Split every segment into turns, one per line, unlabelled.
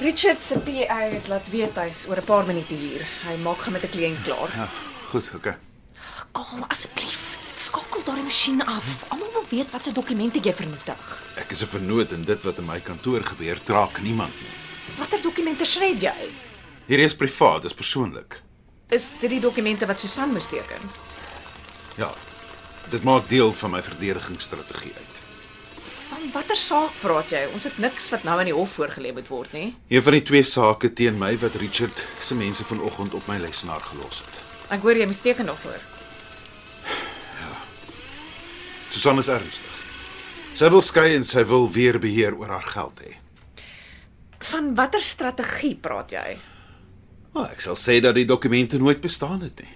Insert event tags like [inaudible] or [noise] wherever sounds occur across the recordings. Richard se PA het laat weet hy's oor 'n paar minute hier. Hy maak gaan met 'n kliënt klaar.
Ja, goed, okay.
Kalm asseblief. Skakel daai masjien af. Almal wil weet wat se dokumente jy vernietig.
Ek is 'n vernoot en dit wat in my kantoor gebeur, traak niemand nie.
Watter dokumente shred jy?
Hierdie is privaat, dis persoonlik.
Is dit die dokumente wat Susan moes teken?
Ja. Dit maak deel van my verdedigingsstrategie uit.
Van watter saak praat jy? Ons het niks wat nou aan die hof voorgelê moet word nie.
Een van die twee sake teen my wat Richard se mense vanoggend op my lesenaar gelos het.
Ek hoor jy moes teken daarvoor.
Susan is ernstig. Sy wil skei en sy wil weer beheer oor haar geld hê.
Van watter strategie praat jy?
Maar ek sal sê dat die dokumente nooit bestaan het nie.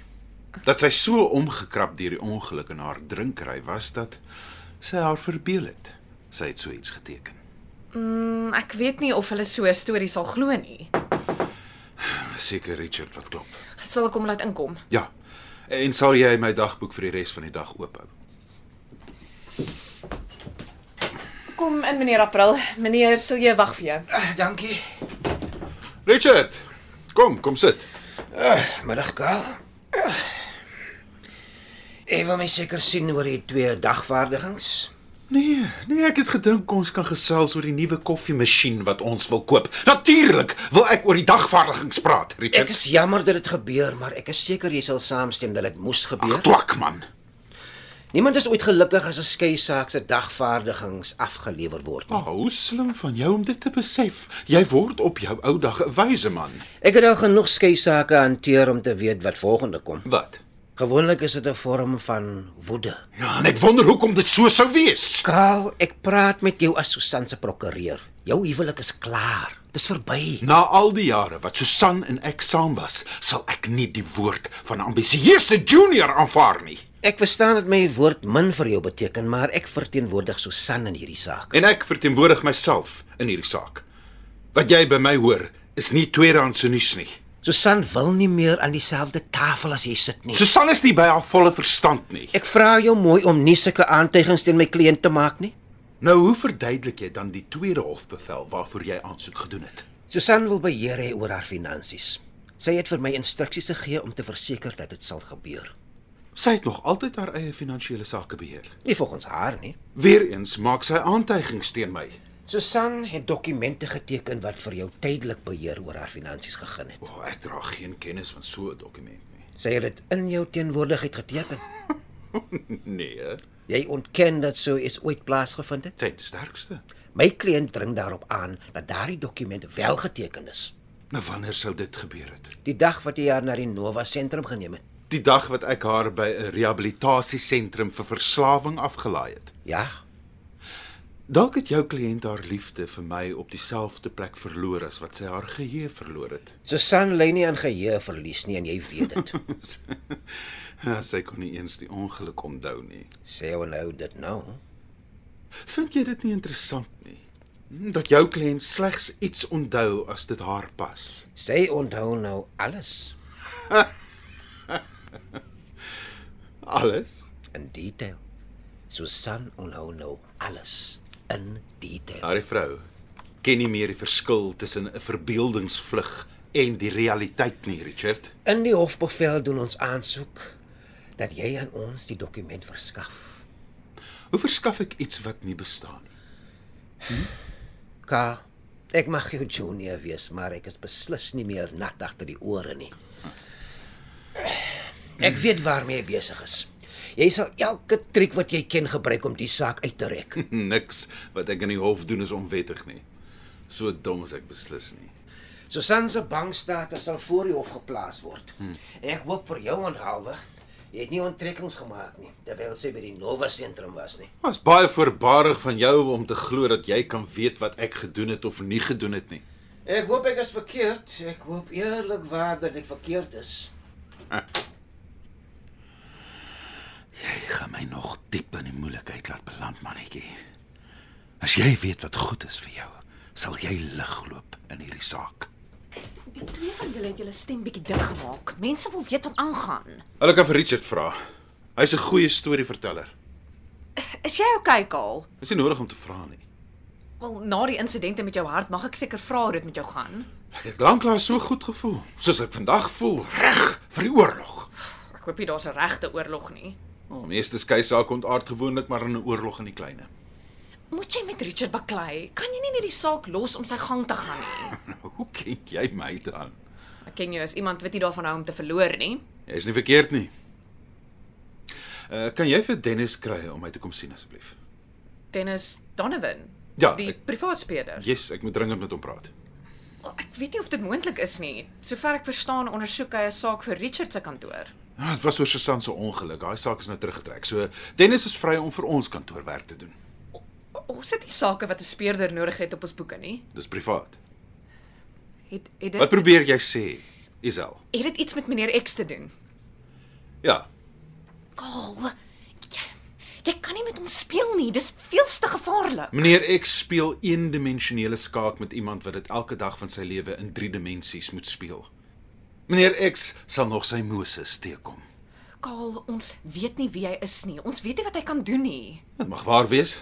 Dat sy so omgekrap deur die ongeluk in haar drinkery was dat sy haar verbeel het. Sy het so iets geteken.
Mm, ek weet nie of hulle so 'n storie sal glo nie.
Seker Richard wat klop.
Sal ek hom laat inkom?
Ja. En sal jy my dagboek vir die res van die dag oop hou?
Kom in meneer April. Meneer, sal jy wag vir jou?
Ah, dankie.
Richard, kom, kom sit.
Middag, Karl. Ek wil my seker sien oor die twee dagvaardigings.
Nee, nee, ek het gedink ons kan gesels oor die nuwe koffiemasjien wat ons wil koop. Natuurlik wil ek oor die dagvaardigings praat,
Ek
Richard.
is jammer dat dit gebeur, maar ek is seker jy sal saamstem dat dit moes gebeur.
Ag, twak man.
Niemand is ooit gelukkig as 'n skei saak se dagvaardigings afgelewer word nie.
Oh, hoe slim van jou om dit te besef. Jy word op jou ou dag 'n wyse man.
Ek het al genoeg skei sake hanteer om te weet wat volgende kom.
Wat?
Gewoonlik is dit 'n vorm van woede.
Ja, en ek wonder hoekom dit so sou wees.
Karl, ek praat met jou as Susan se prokureur. Jou huwelik is klaar. Dis verby.
Na al die jare wat Susan en ek saam was, sal ek nie die woord van 'n ambisieuse junior aanvaar nie.
Ek verstaan dat my woord min vir jou beteken, maar ek verteenwoordig Susan in hierdie saak.
En ek verteenwoordig myself in hierdie saak. Wat jy by my hoor, is nie tweedehandse nuus nie.
Susan wil nie meer aan dieselfde tafel as jy sit nie.
Susan is nie by haar volle verstand nie.
Ek vra jou mooi om nie sulke aantuigings teen my kliënt te maak nie.
Nou hoe verduidelik jy dan die tweede hofbevel waarvoor jy aansoek gedoen het?
Susan wil beheer hê oor haar finansies. Sy het vir my instruksies gegee om te verseker dat dit sal gebeur.
Sy het nog altyd haar eie finansiële sake beheer.
Nie volgens haar nie.
Weereens maak sy aantuigings teen my.
Susan het dokumente geteken wat vir jou tydelik beheer oor haar finansies gegee het.
O, oh, ek dra geen kennis van so 'n dokument nie.
Sy het dit in jou teenwoordigheid geteken.
Nee,
Jy ontken dat so iets ooit plaasgevind het.
tyd sterkste.
My kliënt dring daarop aan dat daardie dokument wel geteken is.
Nou wanneer sou dit gebeur het?
Die dag wat jy haar na die Nova sentrum geneem het.
Die dag wat ek haar by 'n rehabilitasiesentrum vir verslawing afgelaai het.
Ja,
Dalk het jou kliënt haar liefde vir my op dieselfde plek verloor as wat sy haar geheue verloor het.
Susan lê nie aan geheue verlies nie en jy weet dit.
Ja, sy kon nie eens die ongeluk onthou nie.
Sê jou nou dit nou.
Vind jy dit nie interessant nie? Dat jou kliënt slegs iets onthou as dit haar pas.
Sy onthou nou alles
Alles?
in detail. Susan onthou nou alles in detail.
Daardie vrou ken nie meer die verskil tussen 'n verbeeldingsvlug en die realiteit nie, Richard.
In die hofbevel doen ons aansoek dat jy aan ons die dokument verskaf.
Hoe verskaf ek iets wat nie bestaan nie?
Ka, ek mag jou junior wees, maar ek is beslis nie meer nat agter die ore nie. Ek weet waarmee jy besig is. Jy sal elke triek wat jy ken gebruik om die saak uit te [laughs] rek.
Niks wat ek in die hof doen is onwettig nie. So dom is ek beslis nie.
Susan se bankstatus sal voor die hof geplaas word. Ek hoop vir jou onthaalwe, jy het nie onttrekkings gemaak nie terwyl sy by die Nova sentrum was nie.
Was baie voorbarig van jou om te glo dat jy kan weet wat ek gedoen het of nie gedoen het nie.
Ek hoop ek is verkeerd. Ek hoop eerlikwaar dat ek verkeerd is.
Jy gaan my nog diep in die moeilikheid laat beland, mannetjie. As jy weet wat goed is vir jou, sal jy lig loop in hierdie saak.
Die twee van julle het julle stem bietjie dik gemaak. Mense wil weet wat aangaan.
Hulle kan vir Richard vra. Hy's 'n goeie storieverteller.
Is jy okay, Kaal?
Dis nie nodig om te vra nie.
Wel, na die insidente met jou hart mag ek seker vra hoe dit met jou gaan.
Ek het lanklaas so goed gevoel, soos ek vandag voel, reg vir die oorlog.
Ek hoop nie daar's 'n regte oorlog nie.
Oh, meeste skei sake ontaard gewoonlik maar in 'n oorlog in die kleine. [laughs]
Moet jy met Richard baklei? Kan jy nie net die saak los om sy gang te gaan nie?
Hoe kyk jy my dan?
Ek ken jou as iemand wat nie daarvan hou om te verloor nie.
Jy's nie verkeerd nie. Uh, kan jy vir Dennis kry om my te kom sien asseblief?
Dennis Donovan.
Ja,
die
ek- Ja.
privaatspeler.
Yes, ek moet dringend met hom praat.
Wel, Ek weet nie of dit moontlik is nie. Sover ek verstaan, ondersoek hy 'n saak vir Richard se kantoor.
Ja, dit was oor Susan se ongeluk. Daai saak is nou teruggetrek. So Dennis is vry om vir ons kantoorwerk te doen.
O- Ons het nie sake wat 'n speurder nodig het op ons boeke nie.
Dis privaat.
Het het
Wat
dit
probeer jy sê, Isel?
het dit iets met meneer X te doen?
Ja,
Kaal. Jy, jy kan nie met hom speel nie. Dis veelste gevaarlik.
meneer X speel eendimensionele skaak met iemand wat dit elke dag van sy lewe in 3 dimensies moet speel. Meneer X sal nog sy Moses teekom.
Kaal, ons weet nie wie hy is nie. Ons weet nie wat hy kan doen nie.
Dit mag waar wees,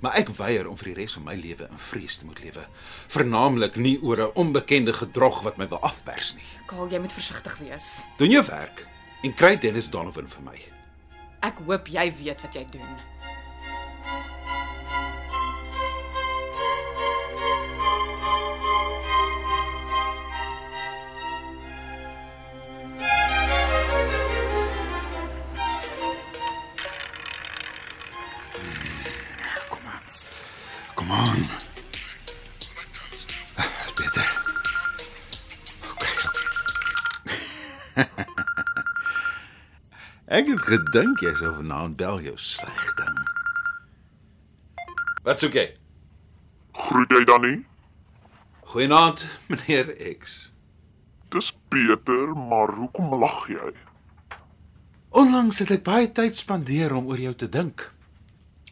maar ek weier om vir die res van my lewe in vrees te moet lewe, veralnik nie oor 'n onbekende gedrog wat my wil afpers nie.
Kaal, jy moet versigtig wees.
Doen jou werk en kry Dennis Donovan vir my.
Ek hoop jy weet wat jy doen.
Kom aan. Ah, is Beter. Okay. okay. [laughs] Ek het gedink jy sou vanaand bel jou sleg ding. Wat soek jy?
Groet jy dan nie?
Goeienaand, meneer X.
Dis Pieter, maar hoekom lag jy?
Onlangs het ek baie tyd spandeer om oor jou te dink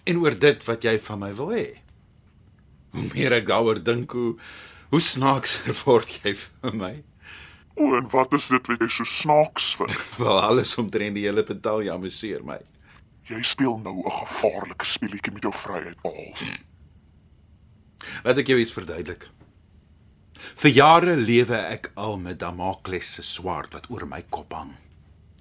en oor dit wat jy van my wil hê. Hoe meer ek daaroor dink, hoe hoe snaakser [laughs] word jy vir my.
O, en wat is dit wat jy so snaaks vind?
Wel alles omtrent die hele betalja amuseer my.
Jy speel nou 'n gevaarlike speletjie met jou vryheid al.
Laat ek jou iets verduidelik. Vir jare lewe ek al met Damakles se swaard wat oor my kop hang.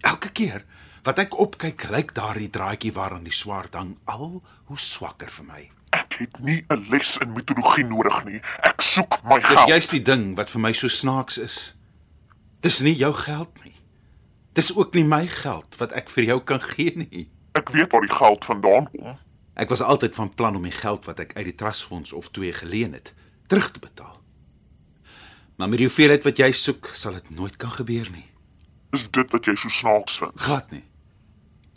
Elke keer wat ek opkyk, lyk daardie draadjie waaraan die swaard hang al hoe swakker vir my.
Ek het nie 'n les in mitologie nodig nie. Ek soek my
Dis
geld.
juist die ding wat vir my so snaaks is. Dis nie jou geld nie. Dis ook nie my geld wat ek vir jou kan gee nie.
Ek weet waar die geld vandaan kom.
Ek was altyd van plan om die geld wat ek uit die trustfonds of twee geleen het, terug te betaal. Maar met die hoeveelheid wat jy soek, sal dit nooit kan gebeur nie.
Is dit wat jy so snaaks vind?
Glad nie.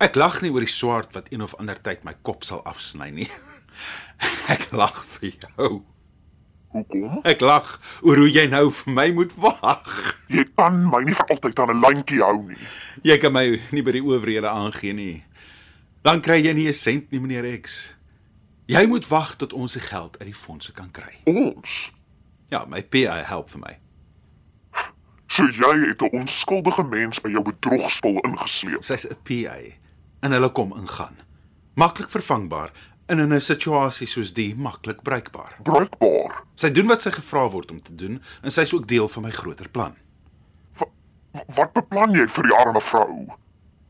Ek lag nie oor die swaard wat een of ander tyd my kop sal afsny nie. [laughs] Ek lag vir jou.
Hoekom?
Ek lag oor hoe jy nou vir my moet wag.
Jy kan my nie vir altyd aan 'n lyntjie hou nie.
Jy kan my nie by die owerhede aangee nie. Dan kry jy nie 'n sent nie, meneer X. Jy moet wag tot ons die geld uit die fondse kan kry.
Ons.
Ja, my PA help vir my.
So jy het 'n onskuldige mens by jou bedrogspel ingesleep.
Sy's 'n PA en hulle kom ingaan. Maklik vervangbaar en in 'n situasie soos die maklik bruikbaar.
Bruikbaar.
Sy doen wat sy gevra word om te doen en sy's ook deel van my groter plan.
Wa- wa- Wat beplan jy vir die arme vrou?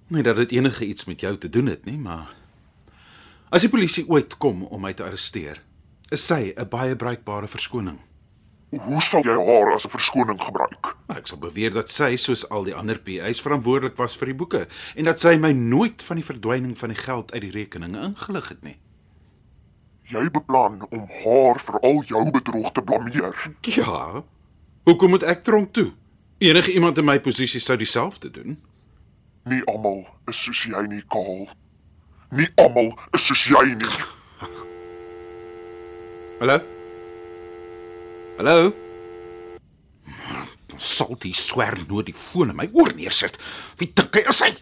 Nie dat dit enige iets met jou te doen het nie, maar as die polisie ooit kom om my te arresteer, is sy 'n baie bruikbare verskoning.
Hoe sal jy haar as 'n verskoning gebruik?
Maar Ek sal beweer dat sy soos al die ander PA's verantwoordelik was vir die boeke en dat sy my nooit van die verdwyning van die geld uit die rekeninge ingelig het nie.
Jy beplan om haar vir al jou bedrog te blameer.
Ja. Hoekom moet ek tronk toe? Enige iemand in my posisie sou dieselfde doen.
Nie almal is soos jy nie, Kaal. Nie almal is soos jy nie.
Hallo? Hallo? Salty swer nou die foon in my oor neersit. Wie dink hy is hy?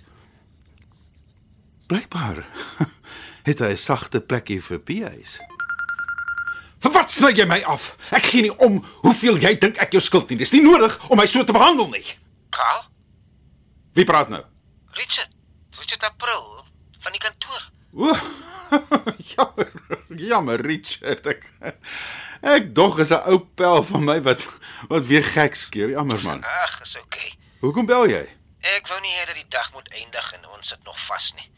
Blykbaar [laughs] het hy 'n sagte plekkie vir P.S. Vir wat sny jy my af? Ek gee nie om hoeveel jy dink ek jou skuld nie. Dis nie nodig om my so te behandel nie.
Karl?
Wie praat nou?
Richard. Richard April van die kantoor.
O. [laughs] jammer, jammer Richard. Ek ek dog is 'n ou pel van my wat wat weer gek skeer. Jammer man.
Ag, is oukei. Okay.
Hoekom bel jy?
Ek wou nie hê dat die dag moet eindig en ons sit nog vas nie.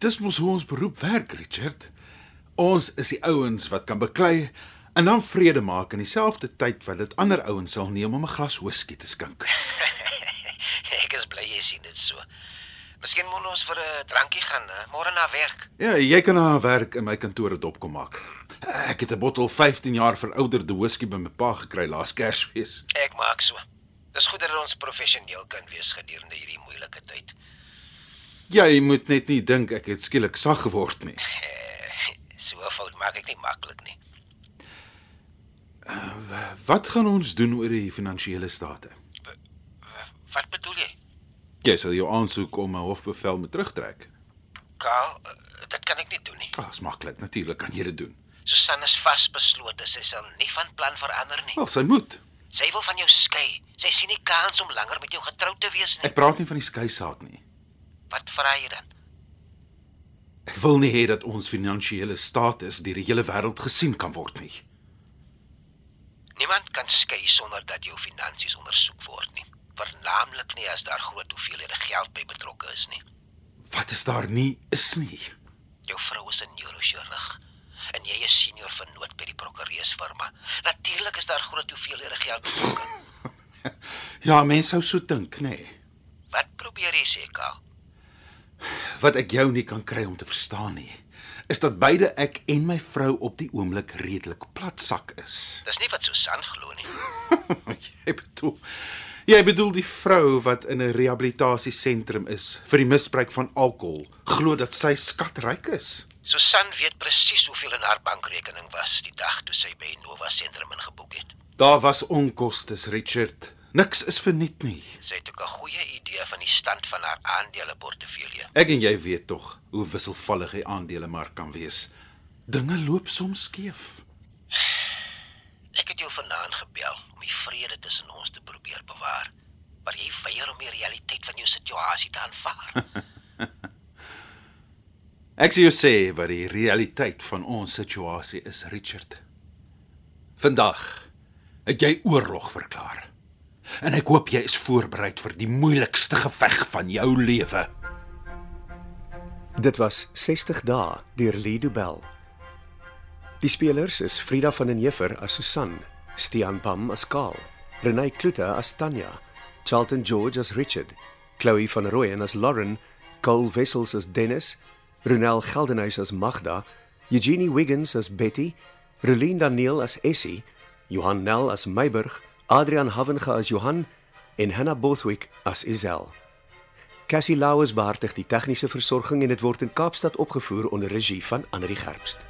Dis mos hoe ons beroep werk, Richard. Ons is die ouens wat kan beklei en dan vrede maak in dieselfde tyd wat dit ander ouens sal neem om 'n glas whisky te skink.
[laughs] ek is bly jy sien dit so. Miskien moet ons vir 'n drankie gaan, hè? môre na werk.
Ja, jy kan na werk in my kantoor 'n dop kom maak. Ek het 'n bottel 15 jaar verouderde whisky by my pa gekry laas Kersfees.
Ek maak so. Dis goed dat ons professioneel kan wees gedurende hierdie moeilike tyd.
Jy moet net nie dink ek het skielik sag geword nie.
So 'n fout maak ek nie maklik nie.
Wat gaan ons doen oor die finansiële state?
Wat bedoel jy?
Jy sal jou aansoek om 'n hofbevel moet terugtrek.
Karl, eh, dit kan ek nie doen nie.
Ah, is maklik. Natuurlik kan jy dit doen.
Susan is vasbeslote, sy sal nie van plan verander nie.
Wel, sy moet.
Sy wil van jou skei. Sy sien nie kans om langer met jou getroud te wees nie.
Ek praat nie van die skei saak nie.
Wat vra jy dan?
Ek wil nie hê dat ons finansiële status deur die hele wêreld gesien kan word nie.
Niemand kan skei sonder dat jou finansies ondersoek word nie. Vernaamlik nie as daar groot hoeveelhede geld by betrokke is nie.
Wat is daar nie is nie.
Jou vrou is 'n neurochirurg en jy is senior vernoot by die prokureursfirma. Natuurlik is daar groot hoeveelhede geld betrokke.
Ja, mense sou so dink, nê. Nee.
Wat probeer jy sê, Kaal?
Wat ek jou nie kan kry om te verstaan nie, is dat beide ek en my vrou op die oomblik redelik platsak is. [laughs]
Dis nie wat Susan glo nie.
jy bedoel jy bedoel die vrou wat in 'n rehabilitasiesentrum is vir die misbruik van alkohol, glo dat sy skatryk is.
Susan weet presies hoeveel in haar bankrekening was die dag toe sy by Nova Sentrum ingeboek het.
Daar was onkostes, Richard. Niks is verniet nie.
Sy het ook 'n goeie idee van die stand van haar aandeleportefeulje.
Ek en jy weet tog hoe wisselvallig die aandelemark kan wees. Dinge loop soms skeef.
Ek het jou vanaand gebel om die vrede tussen ons te probeer bewaar, maar jy weier om die realiteit van jou situasie te aanvaar.
Ek sê jou sê wat die realiteit van ons situasie is, Richard. Vandag het jy oorlog verklaar. En ek hoop jy is voorberei vir die moeilikste geveg van jou lewe.
Dit was 60 dae deur Lido Bell. Die spelers is Frida van den Heever as Susan, Stean Pam as Karl, Renai Klute as Tanya, Charlton George as Richard, Chloe van Rooyen as Lauren, Cole Wessels as Dennis, Ronel Geldenhuys as Magda, Eugenie Wiggins as Betty, Relien Daniel as Essie, Johan Nel as Meiburg, Adrian Havenga as Johan en Hannah Bothwick as Isel. Cassie Lauers behartig die tegniese versorging en dit word in Kaapstad opgevoer onder regie van Anri Gerbst.